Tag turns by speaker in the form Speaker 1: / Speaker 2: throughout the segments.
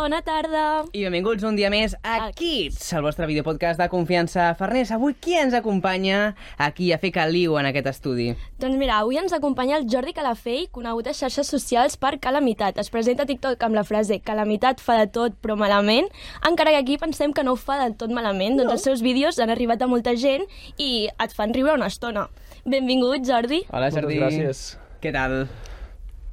Speaker 1: Bona tarda.
Speaker 2: I benvinguts un dia més a
Speaker 1: A
Speaker 2: Kids, el vostre videopodcast de confiança. Farners, avui qui ens acompanya aquí a fer caliu en aquest estudi?
Speaker 1: Doncs mira, avui ens acompanya el Jordi Calafell, conegut a xarxes socials per Calamitat. Es presenta a TikTok amb la frase Calamitat fa de tot però malament, encara que aquí pensem que no ho fa del tot malament, doncs els seus vídeos han arribat a molta gent i et fan riure una estona. Benvingut, Jordi.
Speaker 2: Hola, Jordi.
Speaker 3: Moltes gràcies.
Speaker 2: Què tal?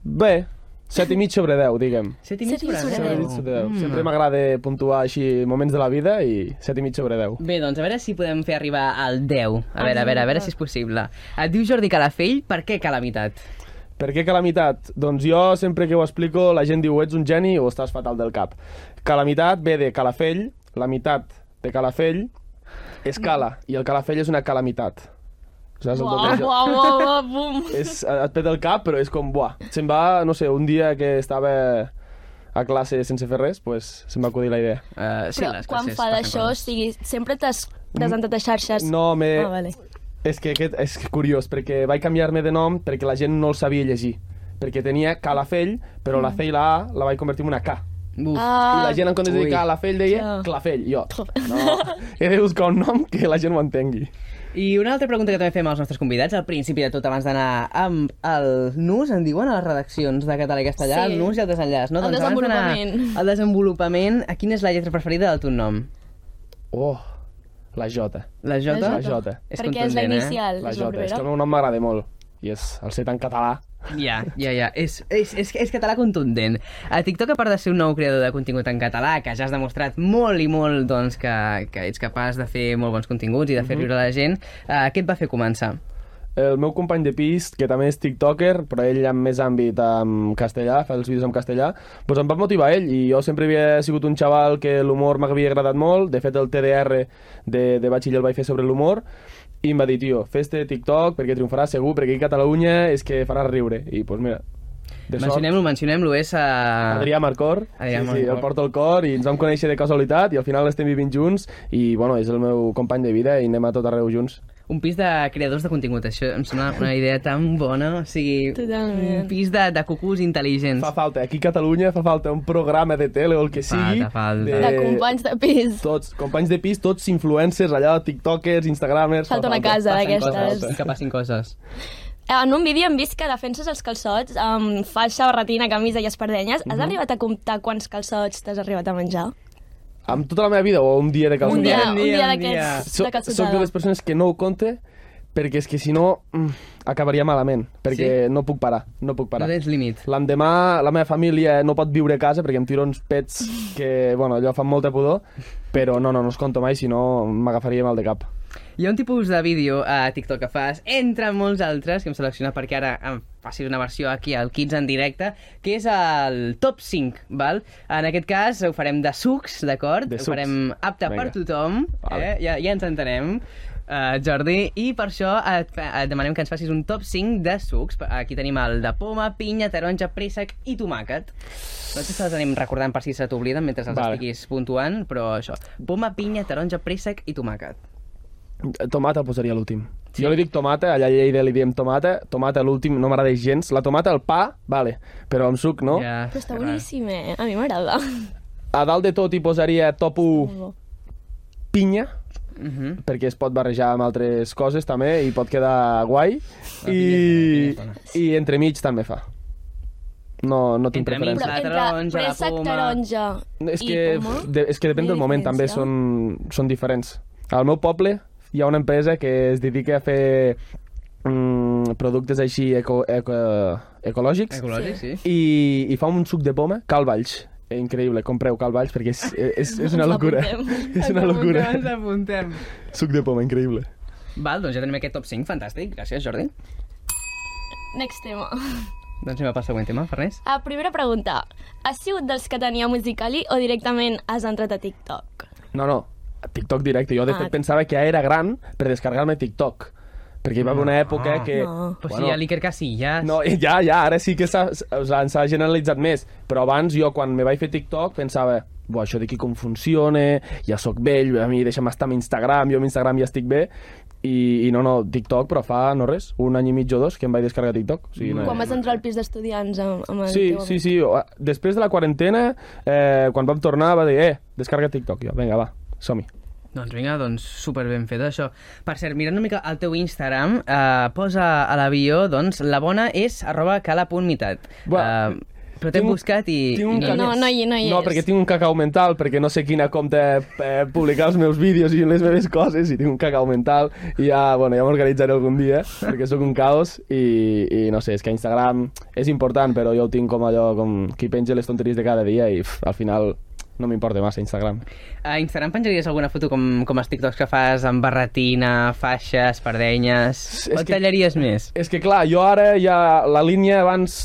Speaker 3: Bé, 7 i mig sobre 10, diguem.
Speaker 2: Set
Speaker 1: Set i mig sobre
Speaker 3: Set i
Speaker 1: deu. Mm.
Speaker 3: mig sobre 10. Sempre m'agrada puntuar així moments de la vida i 7 i mig sobre 10.
Speaker 2: Bé, doncs a veure si podem fer arribar al 10. A veure, a veure, a veure si és possible. Et diu Jordi Calafell, per què Calamitat?
Speaker 3: Per què calamitat? Doncs jo, sempre que ho explico, la gent diu ets un geni o estàs fatal del cap. Calamitat ve de calafell, la meitat de calafell és cala, i el calafell és una calamitat. Saps? El
Speaker 1: Uau,
Speaker 3: doble joc.
Speaker 1: uau, uau, uau, bum.
Speaker 3: és, et peta el cap, però és com, buah, se'n va, no sé, un dia que estava a classe sense fer res, pues, se'm va acudir la idea.
Speaker 2: Uh,
Speaker 1: Però quan fa d'això, o sigui, sempre t'has presentat a xarxes.
Speaker 3: No, eh, me...
Speaker 1: Ah, vale.
Speaker 3: És que aquest és curiós, perquè vaig canviar-me de nom perquè la gent no el sabia llegir. Perquè tenia Calafell, però la C i la A la vaig convertir en una K.
Speaker 2: Uf,
Speaker 3: I
Speaker 1: Ah,
Speaker 3: la gent, en comptes de
Speaker 2: ui.
Speaker 3: dir Calafell, deia
Speaker 1: Ja.
Speaker 3: Clafell. Jo, no, he de buscar un nom que la gent ho entengui.
Speaker 2: I una altra pregunta que també fem als nostres convidats, al principi de tot, abans d'anar amb el NUS, en diuen a les redaccions de català i castellà,
Speaker 1: Sí.
Speaker 2: el NUS i el desenllaç, no? Doncs
Speaker 1: El
Speaker 2: abans d'anar
Speaker 1: desenvolupament.
Speaker 2: Al desenvolupament, a quina és la lletra preferida del teu nom?
Speaker 3: Oh, la J.
Speaker 2: La J?
Speaker 3: La J.
Speaker 2: És
Speaker 1: perquè és la
Speaker 2: contundent, eh?
Speaker 1: inicial,
Speaker 3: La
Speaker 1: és
Speaker 3: J. És que
Speaker 1: l'obrera.
Speaker 3: el meu nom m'agrada molt. I és el set en català.
Speaker 2: Ja, ja, ja. És, és, és, és català contundent. A TikTok, a part de ser un nou creador de contingut en català, que ja has demostrat molt i molt doncs, que, que ets capaç de fer molt bons continguts i de
Speaker 3: Mhm.
Speaker 2: fer riure a la gent, uh, què et va fer començar?
Speaker 3: El meu company de pis, que també és tiktoker, però ell amb més àmbit en castellà, fa els vídeos en castellà, doncs em va motivar ell i jo sempre havia sigut un xaval que l'humor m'havia agradat molt, de fet el TDR de, de batxiller el vaig fer sobre l'humor, i em va dir, tio, fes-te TikTok perquè triomfaràs segur, perquè aquí a Catalunya és que faràs riure. I doncs mira, de sort,
Speaker 2: Mencionem-lo, mencionem-lo, és... Uh...
Speaker 3: Adrià Marcor,
Speaker 2: Adrià
Speaker 3: sí, sí,
Speaker 2: Marcor.
Speaker 3: el porto al cor i ens vam conèixer de casualitat i al final estem vivint junts i bueno, és el meu company de vida i anem a tot arreu junts.
Speaker 2: Un pis de creadors de contingut, això em sembla una idea tan bona, o sigui...
Speaker 1: Totalment.
Speaker 2: Un pis de, de cucús intel·ligents.
Speaker 3: Fa falta, aquí a Catalunya fa falta un programa de tele o el que
Speaker 2: Falta,
Speaker 3: sigui.
Speaker 2: falta.
Speaker 1: De companys de pis.
Speaker 3: Tots, companys de pis, tots influencers allà, tiktokers, instagramers...
Speaker 1: Falta una casa
Speaker 2: Passen
Speaker 1: d'aquestes.
Speaker 2: coses, que passin coses.
Speaker 1: Eh, En un vídeo hem vist que defenses els calçots amb faixa, barretina, camisa i espardenyes. Has
Speaker 3: Mhm.
Speaker 1: arribat a comptar quants calçots t'has arribat a menjar?
Speaker 3: Amb tota la meva vida o un dia de calçotada?
Speaker 1: un dia,
Speaker 2: un
Speaker 1: un
Speaker 2: dia,
Speaker 1: dia
Speaker 2: un
Speaker 1: d'aquests
Speaker 3: So-
Speaker 1: de
Speaker 3: Soc de
Speaker 1: calçotada.
Speaker 3: les persones que no ho compte perquè és que si no mm, acabaria malament, perquè no puc parar, no puc
Speaker 2: No
Speaker 3: parar.
Speaker 2: tens límit.
Speaker 3: L'endemà la meva família no pot viure a casa perquè em tiro uns pets que, bueno, allò fan molta pudor, però no, no, no els conto mai, si no m'agafaria mal de cap.
Speaker 2: Hi ha un tipus de vídeo a TikTok que fas, entre molts altres, que hem seleccionat perquè ara em facis una versió aquí al Kids en directe, que és el top 5, val? En aquest cas ho farem de sucs, d'acord?
Speaker 3: De
Speaker 2: Ho
Speaker 3: sucs.
Speaker 2: farem apte per
Speaker 3: Vinga.
Speaker 2: tothom,
Speaker 3: Vale.
Speaker 2: eh? ja, ja ens entenem. Uh, Jordi, i per això et, fa- et demanem que ens facis un top 5 de sucs. Aquí tenim el de poma, pinya, taronja, préssec i tomàquet. No sé si els anem recordant per si se t'obliden mentre els
Speaker 3: Vale.
Speaker 2: estiguis puntuant, però això. Poma, pinya, taronja, préssec i tomàquet.
Speaker 3: Tomata posaria l'últim. Sí. Jo li dic tomata, allà a Lleida li diem tomata, tomata l'últim, no m'agrada gens. La tomata, el pa, vale, però amb suc, no? Yeah.
Speaker 2: Ja,
Speaker 1: Però està
Speaker 2: clar.
Speaker 1: boníssim, eh? A mi m'agrada.
Speaker 3: A dalt de tot hi posaria top 1
Speaker 1: bo.
Speaker 3: pinya,
Speaker 2: Mhm.
Speaker 3: perquè es pot barrejar amb altres coses també i pot quedar guai. I, i entremig també fa. No, no tinc
Speaker 2: Entremig,
Speaker 3: preferència.
Speaker 1: Però
Speaker 2: La
Speaker 1: entre
Speaker 2: taronja, la
Speaker 1: préssec,
Speaker 2: poma.
Speaker 1: taronja
Speaker 3: No, és
Speaker 1: i
Speaker 3: que,
Speaker 1: poma...
Speaker 3: de, és que depèn
Speaker 1: no hi
Speaker 3: del
Speaker 1: ha
Speaker 3: moment, també
Speaker 1: diferència?
Speaker 3: són, són diferents. Al meu poble hi ha una empresa que es dedica a fer mm, productes així eco, eco, ecològics
Speaker 2: Ecològic, sí.
Speaker 3: i, i fa un suc de poma, calvalls. Eh, Increïble, compreu calvalls perquè és, és, és una
Speaker 1: Ens
Speaker 3: locura.
Speaker 1: l'apuntem.
Speaker 3: És una locura.
Speaker 2: Ens apuntem.
Speaker 3: Suc de poma, increïble.
Speaker 2: Val, doncs ja tenim aquest top 5, fantàstic. Gràcies, Jordi.
Speaker 1: Next tema.
Speaker 2: Doncs anem a pel següent tema, Farners.
Speaker 1: A primera pregunta. Has sigut dels que tenia Musical.ly o directament has entrat a TikTok?
Speaker 3: No, no, TikTok directe. Jo, de
Speaker 1: Ah.
Speaker 3: fet, pensava que ja era gran per descarregar-me TikTok. Perquè hi va haver una època que...
Speaker 1: No.
Speaker 2: Ah. Però si hi ha l'Iker Casillas...
Speaker 3: No, eh, ja, ja, ara sí que s'ha o sigui, s'ha generalitzat més. Però abans jo, quan me vaig fer TikTok, pensava Buah, això d'aquí com funciona, ja sóc vell, a mi deixa'm estar amb Instagram, jo amb Instagram ja estic bé, I, i no, no, TikTok, però fa, no res, un any i mig o dos que em vaig descarregar TikTok. O sigui, no,
Speaker 1: Quan vas entrar al pis d'estudiants amb, amb el
Speaker 3: Eh, Sí,
Speaker 1: teu
Speaker 3: sí,
Speaker 1: amic.
Speaker 3: sí. o- Després de la quarantena, eh, quan vam tornar, va dir, eh, descarrega TikTok. Jo, vinga, va, som-hi.
Speaker 2: Doncs vinga, doncs super ben fet això. Per cert, mirant una mica el teu Instagram, eh, posa a l'avió, doncs, la bona és arroba cala.mitat.
Speaker 3: Buah,
Speaker 2: Eh, però t'hem
Speaker 3: tinc un-
Speaker 2: buscat i...
Speaker 3: Tinc un
Speaker 2: i
Speaker 1: no,
Speaker 3: cacau-
Speaker 1: no, no hi- no hi
Speaker 3: No,
Speaker 1: és.
Speaker 3: perquè tinc un cacau mental, perquè no sé quina compte eh, publicar els meus vídeos i les meves coses, i tinc un cacau mental, i ja, bueno, ja m'organitzaré algun dia, perquè sóc un caos, i, i no sé, és que Instagram és important, però jo ho tinc com allò, com qui penja les tonteries de cada dia, i pff, al final no m'importa massa Instagram.
Speaker 2: A Instagram penjaries alguna foto com, com els TikToks que fas amb barretina, faixes, pardenyes...
Speaker 3: És
Speaker 2: O et
Speaker 3: que-
Speaker 2: tallaries més?
Speaker 3: És que clar, jo ara ja la línia abans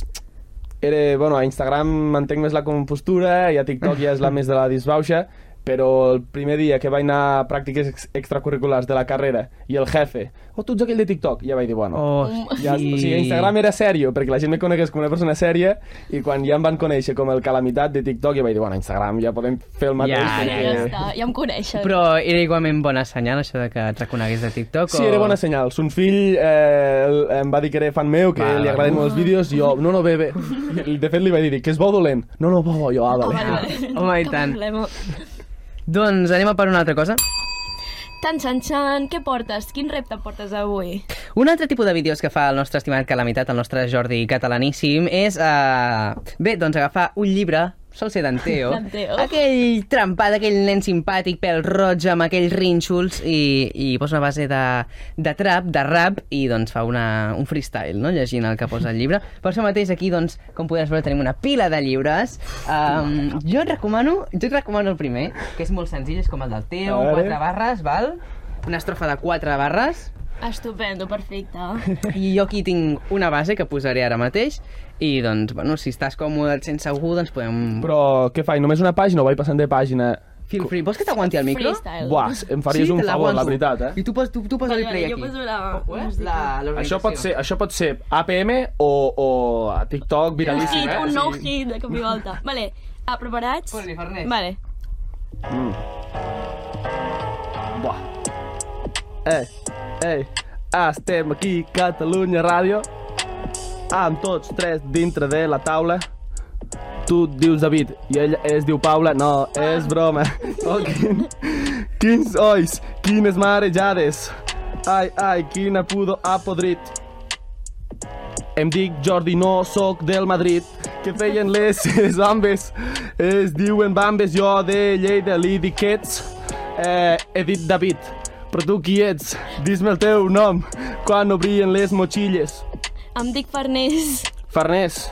Speaker 3: era, bueno, a Instagram mantenc més la compostura i a TikTok ja és la més de la disbauxa, però el primer dia que vaig anar a pràctiques ex- extracurriculars de la carrera i el jefe, oh, tu ets aquell de TikTok, ja vaig dir, bueno...
Speaker 2: Oh,
Speaker 3: Ja, o sigui, Instagram era sèrio, perquè la gent me conegués com una persona sèria i quan ja em van conèixer com el calamitat de TikTok ja vaig dir, bueno, Instagram ja podem fer el mateix.
Speaker 2: Ja,
Speaker 1: Ja,
Speaker 3: perquè-
Speaker 1: ja està, ja em coneixes.
Speaker 2: Però era igualment bona senyal, això de que et reconegués de TikTok?
Speaker 3: Sí,
Speaker 2: o...
Speaker 3: era bona senyal. Son fill eh, el- em va dir que era fan meu, que
Speaker 2: Va,
Speaker 3: li
Speaker 2: va.
Speaker 3: agraden molt els vídeos, i jo, no, no, bé, bé. De fet, li vaig dir, que és bo o dolent? No, no, bo, bo, jo, ah, vale.
Speaker 1: Vale, vale.
Speaker 2: Home, i
Speaker 1: Cap
Speaker 2: tant.
Speaker 1: problema.
Speaker 2: Doncs anem a per una altra cosa.
Speaker 1: Tan, xan, xan, què portes? Quin repte portes avui?
Speaker 2: Un altre tipus de vídeos que fa el nostre estimat Calamitat, el nostre Jordi catalaníssim, és... Uh... Bé, doncs agafar un llibre, sol ser d'en Teo,
Speaker 1: D'en Teo.
Speaker 2: aquell trampat, aquell nen simpàtic, pèl roig, amb aquells rínxols, i, i posa una base de, de trap, de rap, i doncs fa una, un freestyle, no?, llegint el que posa el llibre. Per això mateix aquí, doncs, com podem veure, tenim una pila de llibres. Um, jo et recomano, jo et recomano el primer, que és molt senzill, és com el del Teo,
Speaker 3: A veure.
Speaker 2: quatre barres, val? Una estrofa de quatre barres.
Speaker 1: Estupendo, perfecte.
Speaker 2: I jo aquí tinc una base que posaré ara mateix i doncs, bueno, si estàs còmode et sents segur, doncs podem... Però...
Speaker 3: Però què faig? Només una pàgina o vaig passant de pàgina?
Speaker 2: Feel free. Vols que t'aguanti el micro?
Speaker 1: Freestyle.
Speaker 3: Buah, em faries
Speaker 2: te
Speaker 3: un favor, la
Speaker 2: l'aguanto.
Speaker 3: veritat, eh?
Speaker 2: I tu, pos, tu, tu posa
Speaker 1: Vale,
Speaker 2: el play
Speaker 1: vale, jo
Speaker 2: aquí.
Speaker 1: poso la-
Speaker 3: Oh,
Speaker 2: Ho és? La,
Speaker 3: Això pot, ser, això pot ser APM o, o a TikTok
Speaker 1: Un
Speaker 3: viralíssim,
Speaker 1: hit,
Speaker 3: eh?
Speaker 1: un
Speaker 3: O
Speaker 1: nou
Speaker 3: sigui-
Speaker 1: hit de cop i volta. Vale, ah, preparats?
Speaker 2: Posa-li, Farners.
Speaker 1: Vale.
Speaker 3: Buah. Ei, ei, estem aquí, Catalunya Ràdio, amb tots tres dintre de la taula. Tu et dius David i ella es diu Paula. No, és broma. Oh, quin... Quins ois, quines marejades. Ai, ai, quina pudor ha podrit. Em dic Jordi, no sóc del Madrid. Que feien les les bambes? Es diuen bambes, jo de Lleida li dic que ets. Eh, he dit David, però tu qui ets? Dis-me el teu nom quan obrien les motxilles.
Speaker 1: Em dic Farners.
Speaker 3: Farners,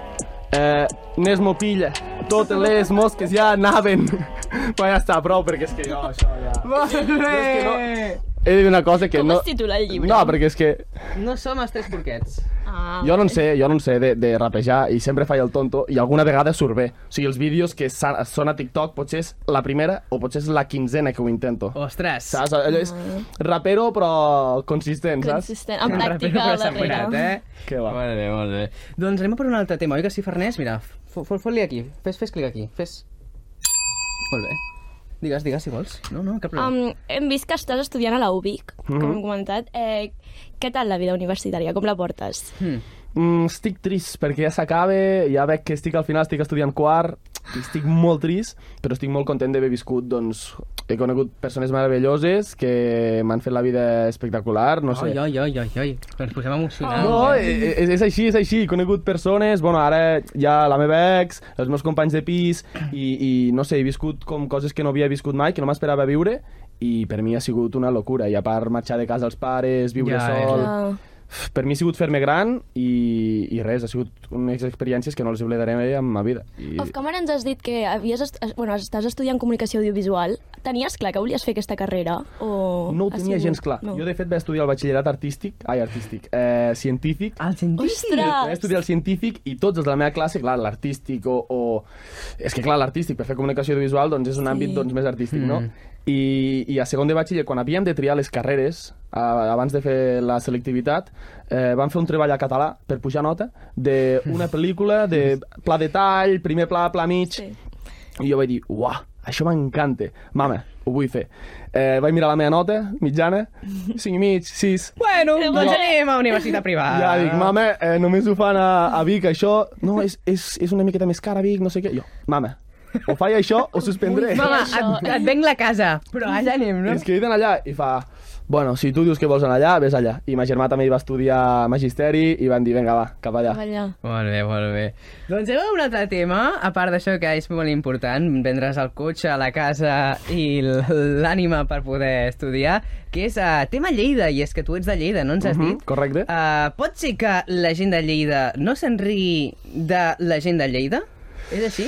Speaker 3: eh, n'és mo pilla. Totes les mosques ja anaven. Però ja està, prou, perquè és que jo això ja... No, és He de dir una cosa que
Speaker 1: Com
Speaker 3: no...
Speaker 1: es titula el llibre?
Speaker 3: No, perquè és que
Speaker 2: No som els tres porquets.
Speaker 1: Ah,
Speaker 3: jo no en sé, jo no en sé de, de rapejar i sempre faig el tonto i alguna vegada surt bé. O sigui, els vídeos que sa- són a TikTok potser és la primera o potser és la quinzena que ho intento.
Speaker 2: Ostres.
Speaker 3: Saps? Allò és rapero però consistent, saps?
Speaker 1: consistent. En
Speaker 2: Un rapero,
Speaker 1: pràctica
Speaker 2: però
Speaker 1: a la
Speaker 2: assegurat,
Speaker 1: pena.
Speaker 2: eh?
Speaker 3: Que va.
Speaker 2: Molt bé, molt bé. Doncs anem a per un altre tema, oi que sí, Farners? Mira, fo- fo- fot-li aquí. Fes, fes clic aquí. Fes... Molt bé. Digues, digues, si vols. No, no, cap problema.
Speaker 1: Um, hem vist que estàs estudiant a la UBIC,
Speaker 3: Mhm.
Speaker 1: com hem comentat. Eh, què tal la vida universitària? Com la portes?
Speaker 2: Hmm.
Speaker 3: Mm, estic trist perquè ja s'acaba, ja veig que estic al final, estic estudiant quart, i estic molt trist, però estic molt content d'haver viscut, doncs, he conegut persones meravelloses que m'han fet la vida espectacular, no sé.
Speaker 2: Ai, ai, ai, ai, ai. Ens posem emocionants.
Speaker 3: No,
Speaker 2: eh?
Speaker 3: eh, és, és així, és així. He conegut persones, bueno, ara ja la meva ex, els meus companys de pis, i, i no sé, he viscut com coses que no havia viscut mai, que no m'esperava viure, i per mi ha sigut una locura. I a part, marxar de casa als pares, viure
Speaker 2: Ja, eh.
Speaker 3: sol...
Speaker 1: Ah,
Speaker 3: Uf, Per mi ha sigut fer-me gran i, i res, ha sigut unes experiències que no les oblidaré mai en ma vida. I...
Speaker 1: Off camera ens has dit que havies est es- bueno, estàs estudiant comunicació audiovisual. Tenies clar que volies fer aquesta carrera? O
Speaker 3: No ho
Speaker 1: ha
Speaker 3: tenia
Speaker 1: sigut-
Speaker 3: gens clar. No. Jo, de fet, vaig estudiar el batxillerat artístic, ai, artístic, eh, científic,
Speaker 2: El científic.
Speaker 1: Ostres!
Speaker 3: Vaig estudiar el científic i tots els de la meva classe, clar, l'artístic o, o... És que, clar, l'artístic per fer comunicació audiovisual doncs, és
Speaker 1: Sí.
Speaker 3: un àmbit doncs, més artístic,
Speaker 2: Mm.
Speaker 3: no? I, I a segon de batxiller, quan havíem de triar les carreres, a, abans de fer la selectivitat, eh, vam fer un treball a català, per pujar nota, d'una pel·lícula de pla de tall, primer pla, pla mig...
Speaker 1: Mm. Sí.
Speaker 3: I jo vaig dir, uah, això m'encanta. Mama, ho vull fer. Eh, vaig mirar la meva nota, mitjana, 5 i mig, 6.
Speaker 2: Bueno, doncs
Speaker 1: No.
Speaker 2: anem a universitat
Speaker 3: Ah.
Speaker 2: privada.
Speaker 3: Ja dic, mama, eh, només ho fan a, a Vic, això. No, és, és, és una miqueta més cara a Vic, no sé què. Jo, mama, o faig això o suspendré.
Speaker 2: Mama,
Speaker 1: Això.
Speaker 2: et, et venc la casa, però allà anem, no?
Speaker 3: I es criden allà i fa... Bueno, si tu dius que vols anar allà, vés allà. I ma germà també hi va estudiar Magisteri i van dir, vinga, va, cap allà.
Speaker 1: Allà.
Speaker 2: Molt bé, molt bé. Doncs anem a un altre tema, a part d'això que és molt important, vendre's el cotxe, la casa i l- l'ànima per poder estudiar, que és uh, tema Lleida, i és que tu ets de Lleida, no ens has
Speaker 3: Mhm,
Speaker 2: dit?
Speaker 3: correcte.
Speaker 2: Uh, pot ser que la gent de Lleida no s'enrigui de la gent de Lleida? És així?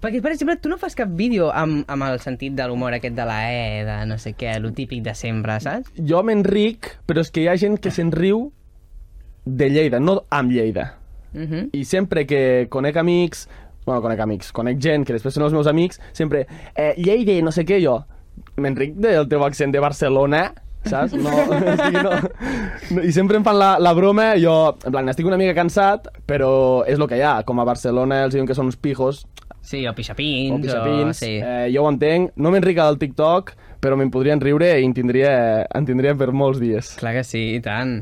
Speaker 2: Perquè, per exemple, tu no fas cap vídeo amb, amb el sentit de l'humor aquest de la E, de no sé què, lo típic de sempre, saps?
Speaker 3: Jo m'enric, però és que hi ha gent que se'n riu de Lleida, no amb Lleida.
Speaker 2: Mhm. Uh
Speaker 3: I sempre que conec amics, bueno, conec amics, conec gent que després són els meus amics, sempre, eh, Lleida, no sé què, jo, m'enric del teu accent de Barcelona, saps? No, o sigui, no, no, I sempre em fan la, la broma, jo, en plan, estic una mica cansat, però és el que hi ha. Com a Barcelona els diuen que són uns pijos,
Speaker 2: Sí, o pixapins.
Speaker 3: o pixapins,
Speaker 2: sí.
Speaker 3: eh, jo ho entenc. No m'enric del TikTok, però me'n podrien riure i en tindria, en tindria per molts dies.
Speaker 2: Clar que sí, i tant.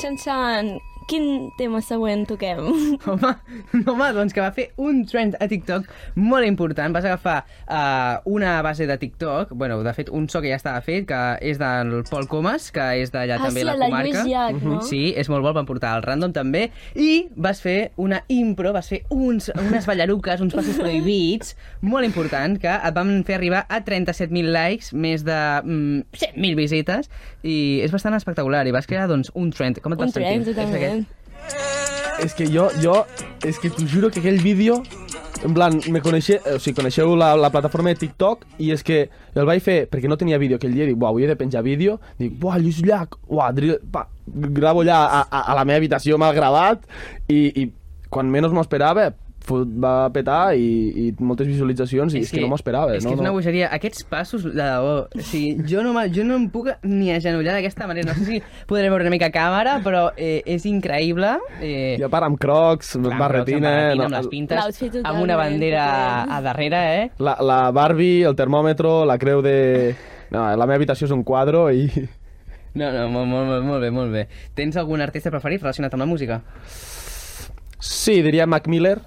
Speaker 1: Xanxan, quin tema següent toquem?
Speaker 2: Home, home, doncs que va fer un trend a TikTok molt important. Vas agafar uh, una base de TikTok, bueno, de fet, un so que ja estava fet, que és del Pol Comas, que és d'allà
Speaker 1: Ah,
Speaker 2: també
Speaker 1: sí,
Speaker 2: la
Speaker 1: el de
Speaker 2: comarca.
Speaker 1: Lluís Llach, no?
Speaker 2: Sí, és molt bo, el van portar al Random també. I vas fer una impro, vas fer uns, unes ballaruques, uns passos prohibits, molt important, que et van fer arribar a 37.000 likes, més de mm, 100.000 visites, i és bastant espectacular, i vas crear, doncs, un trend. Com et
Speaker 1: Un
Speaker 2: vas sentir?
Speaker 1: tren,
Speaker 2: És
Speaker 1: totalment.
Speaker 2: aquest?
Speaker 3: És que jo, jo, és que t'ho juro que aquell vídeo, en plan, me coneixeu, o sigui, coneixeu la, la plataforma de TikTok i és que el vaig fer perquè no tenia vídeo aquell dia, dic, buah, avui he de penjar vídeo, dic, buah, Lluís Llach, buah, dri- pa, gravo allà a, a, a la meva habitació, m'ha gravat i, i quan menys m'ho esperava, fot- va petar i, i moltes visualitzacions i és, que, no m'ho esperava.
Speaker 2: És
Speaker 3: no,
Speaker 2: que és una
Speaker 3: no.
Speaker 2: bogeria. Aquests passos, de debò, o sigui, jo no, me- jo no em puc ni agenollar d'aquesta manera. No sé si podré veure una mica a càmera, però eh, és increïble. Eh,
Speaker 3: I a part amb crocs,
Speaker 2: clar, amb
Speaker 3: barretina... eh,
Speaker 2: brocs, amb barretina, amb
Speaker 3: no,
Speaker 2: les
Speaker 1: L'outfit
Speaker 2: pintes, amb
Speaker 1: totalment,
Speaker 2: una bandera
Speaker 1: totalment.
Speaker 2: a darrere, eh?
Speaker 3: la, la Barbie, el termòmetro, la creu de... No, la meva habitació és un quadro i...
Speaker 2: No, no, molt, molt, molt, molt bé, molt bé. Tens algun artista preferit relacionat amb la música?
Speaker 3: Sí, diria Mac Miller.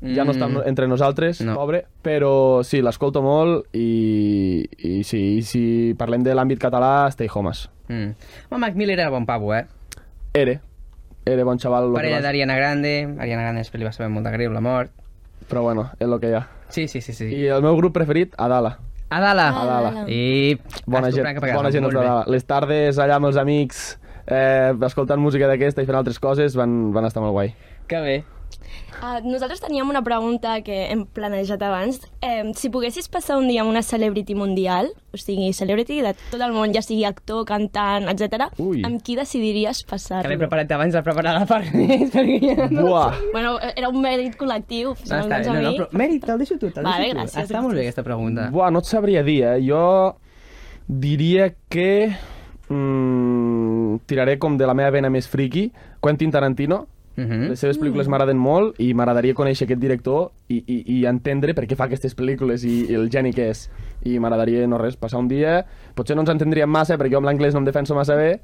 Speaker 3: Ja no està
Speaker 2: Mm.
Speaker 3: entre nosaltres,
Speaker 2: No.
Speaker 3: no. pobre, però sí, l'escolto molt i, i, sí, i si parlem de l'àmbit català, Stay Homes.
Speaker 2: Mm. Home, Mac Miller era bon pavo, eh?
Speaker 3: Ere, Ere, bon xaval, lo que
Speaker 2: Parella
Speaker 3: vas.
Speaker 2: d'Ariana Grande. Ariana Grande després li va saber molt de greu la mort.
Speaker 3: però bueno, és el que hi ha.
Speaker 2: Sí, sí, sí, sí.
Speaker 3: I el meu grup preferit, Adala.
Speaker 2: Adala.
Speaker 1: Adala.
Speaker 2: I...
Speaker 3: Bona
Speaker 2: Has
Speaker 3: gent,
Speaker 2: tornat cap a casa,
Speaker 3: bona gent els
Speaker 2: molt bé.
Speaker 3: d'Adala. Les tardes allà amb els amics, eh, escoltant música d'aquesta i fent altres coses, van, van estar molt guai.
Speaker 2: Que bé.
Speaker 1: Ah, nosaltres teníem una pregunta que hem planejat abans. Eh, si poguessis passar un dia amb una celebrity mundial, o sigui, celebrity de tot el món, ja sigui actor, cantant, etc,
Speaker 3: Ui.
Speaker 1: amb qui decidiries passar-lo?
Speaker 2: Que l'he preparat abans de preparar la Farners, perquè ja no...
Speaker 3: Buah!
Speaker 1: Bueno, era un mèrit col·lectiu.
Speaker 2: No, Ah, està bé, no, no, però mèrit, te'l deixo tu, te'l
Speaker 1: Vale,
Speaker 2: deixo tu.
Speaker 1: gràcies,
Speaker 2: Està molt bé aquesta pregunta.
Speaker 3: Buah, no et sabria dir, eh? Jo diria que... Mm, tiraré com de la meva vena més friki, Quentin Tarantino.
Speaker 2: Mhm.
Speaker 3: Les seves pel·lícules m'agraden molt i m'agradaria conèixer aquest director i, i, i entendre per què fa aquestes pel·lícules i, i el geni que és. I m'agradaria, no res, passar un dia... Potser no ens entendríem massa, perquè jo amb l'anglès no em defenso massa bé,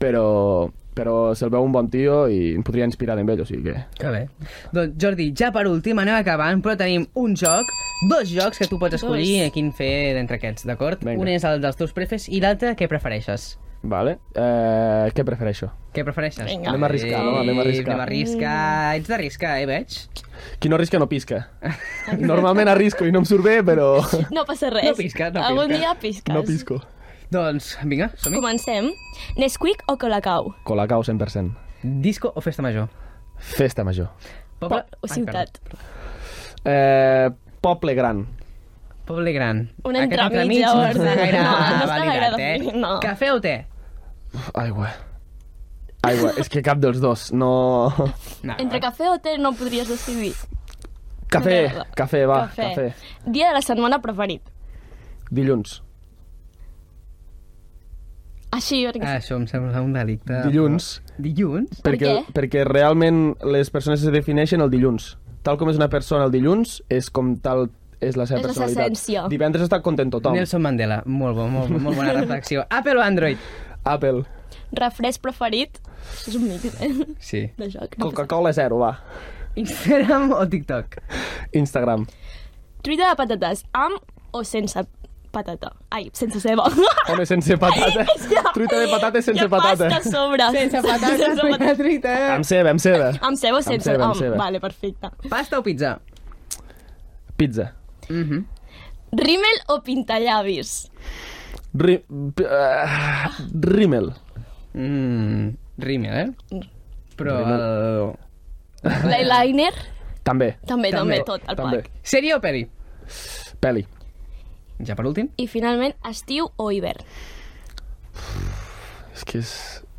Speaker 3: però, però se'l veu un bon tio i em podria inspirar d'ell, o sigui que...
Speaker 2: Que bé. Doncs Jordi, ja per últim anem acabant, però tenim un joc, dos jocs que tu pots escollir
Speaker 1: Dos.
Speaker 2: a quin fer d'entre aquests, d'acord?
Speaker 3: Vinga.
Speaker 2: Un és el dels teus prefes i l'altre què prefereixes?
Speaker 3: Vale. Eh, què prefereixo?
Speaker 2: Què prefereixes?
Speaker 1: Vinga. Mm.
Speaker 3: Anem a arriscar, no? Anem a arriscar.
Speaker 2: Anem a arriscar. Ets d'arriscar, eh, veig?
Speaker 3: Qui no risca no pisca. Normalment arrisco i no em surt bé, però...
Speaker 1: No passa res.
Speaker 2: No pisques, no
Speaker 1: Algun
Speaker 2: pisques.
Speaker 1: dia pisques.
Speaker 3: No pisco.
Speaker 2: Doncs, vinga, som-hi.
Speaker 1: Comencem. Nesquik o Colacau?
Speaker 3: Colacao 100%.
Speaker 2: Disco o festa major?
Speaker 3: Festa major.
Speaker 2: Poble...
Speaker 1: o ciutat?
Speaker 2: Ah,
Speaker 3: Eh, poble gran.
Speaker 2: perdó. Poble gran.
Speaker 1: Un
Speaker 2: Aquest
Speaker 1: entremig,
Speaker 2: no
Speaker 1: llavors. eh?
Speaker 2: està gaire
Speaker 1: No, no està
Speaker 2: validat,
Speaker 1: gaire
Speaker 2: eh?
Speaker 1: no.
Speaker 2: Cafè o té?
Speaker 3: Uf, Aigua. Aigua, és que cap dels dos, no...
Speaker 2: No, Ah,
Speaker 1: Entre cafè o té no podries decidir.
Speaker 3: Cafè,
Speaker 1: Merda.
Speaker 3: cafè, va, cafè. cafè.
Speaker 1: Dia de la setmana preferit.
Speaker 3: Dilluns.
Speaker 1: Així, perquè...
Speaker 2: Ah, això em sembla un delicte.
Speaker 3: Dilluns.
Speaker 2: Dilluns?
Speaker 1: Per
Speaker 3: perquè,
Speaker 1: què?
Speaker 3: perquè realment les persones es defineixen el dilluns. Tal com és una persona el dilluns, és com tal és
Speaker 1: És
Speaker 3: la seva
Speaker 1: la seva
Speaker 3: personalitat.
Speaker 1: essència.
Speaker 3: Divendres està content tothom.
Speaker 2: Nelson Mandela, molt, bo, molt, molt bona reflexió. Apple o Android?
Speaker 3: Apple.
Speaker 1: Refresc preferit. És un mite, eh?
Speaker 2: Sí.
Speaker 1: De joc.
Speaker 3: Coca-Cola zero, va.
Speaker 2: Instagram o TikTok?
Speaker 3: Instagram.
Speaker 1: Truita de patates, amb o sense patata? Ai, sense ceba.
Speaker 3: Home, sense patata. Truita de patates sense
Speaker 1: I
Speaker 3: patata.
Speaker 1: pasta a sobre. Sense patata.
Speaker 2: patata.
Speaker 3: Amb ceba, amb ceba.
Speaker 1: Amb ceba o sense?
Speaker 3: ceba, amb
Speaker 1: Amb
Speaker 3: ceba.
Speaker 1: Vale, perfecte.
Speaker 2: Pasta o pizza?
Speaker 3: Pizza.
Speaker 2: Mhm.
Speaker 1: Rímel o pintallavis?
Speaker 3: Ri... p- eh, Rímel.
Speaker 2: Mm, rímel, eh? Però... El...
Speaker 1: L'eyeliner?
Speaker 3: També.
Speaker 1: També,
Speaker 2: També,
Speaker 1: també, tot, el
Speaker 3: també.
Speaker 1: pack.
Speaker 2: Sèrie o peli?
Speaker 3: Peli.
Speaker 2: Ja per últim.
Speaker 1: I finalment, estiu o hivern?
Speaker 3: És que és...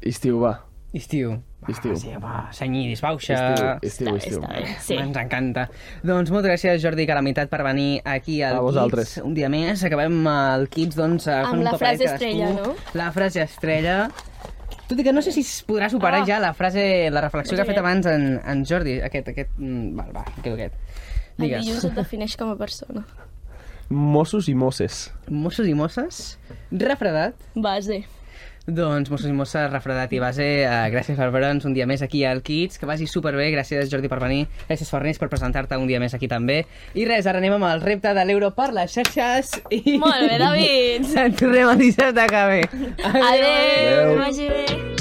Speaker 3: Estiu, va.
Speaker 2: Estiu.
Speaker 3: Estiu.
Speaker 2: Va, sí, va, senyidis, bauxa.
Speaker 3: Estiu,
Speaker 1: Està
Speaker 3: estiu,
Speaker 1: bé,
Speaker 3: estiu.
Speaker 1: està bé, sí.
Speaker 2: Ens encanta. Doncs moltes gràcies, Jordi Calamitat, per venir aquí al
Speaker 3: A vosaltres.
Speaker 2: Kids. Un dia més. Acabem el Kids, doncs... eh,
Speaker 1: Amb
Speaker 2: fent un
Speaker 1: la
Speaker 2: topadet
Speaker 1: frase estrella,
Speaker 2: cadascú.
Speaker 1: no?
Speaker 2: La frase estrella. Tot i que no sé si es podrà superar
Speaker 1: Ah.
Speaker 2: ja la frase, la reflexió que ha fet
Speaker 1: Sí.
Speaker 2: abans en, en Jordi. Aquest, aquest... mm, Val, va, aquest, aquest.
Speaker 1: El
Speaker 2: Digues.
Speaker 1: dilluns et defineix com a persona.
Speaker 3: Mossos i mosses.
Speaker 2: Mossos i mosses, refredat.
Speaker 1: Base.
Speaker 2: Doncs, Mossos i Mosses, refredat i base, eh, gràcies per veure'ns un dia més aquí al Kids, que vagi superbé, gràcies Jordi per venir, gràcies Farners per presentar-te un dia més aquí també. I res, ara anem amb el repte de l'euro per les xarxes i...
Speaker 1: Molt bé, David.
Speaker 2: Ens tornem el dissabte que ve.
Speaker 1: Adéu,
Speaker 3: Adéu.
Speaker 1: que vagi bé.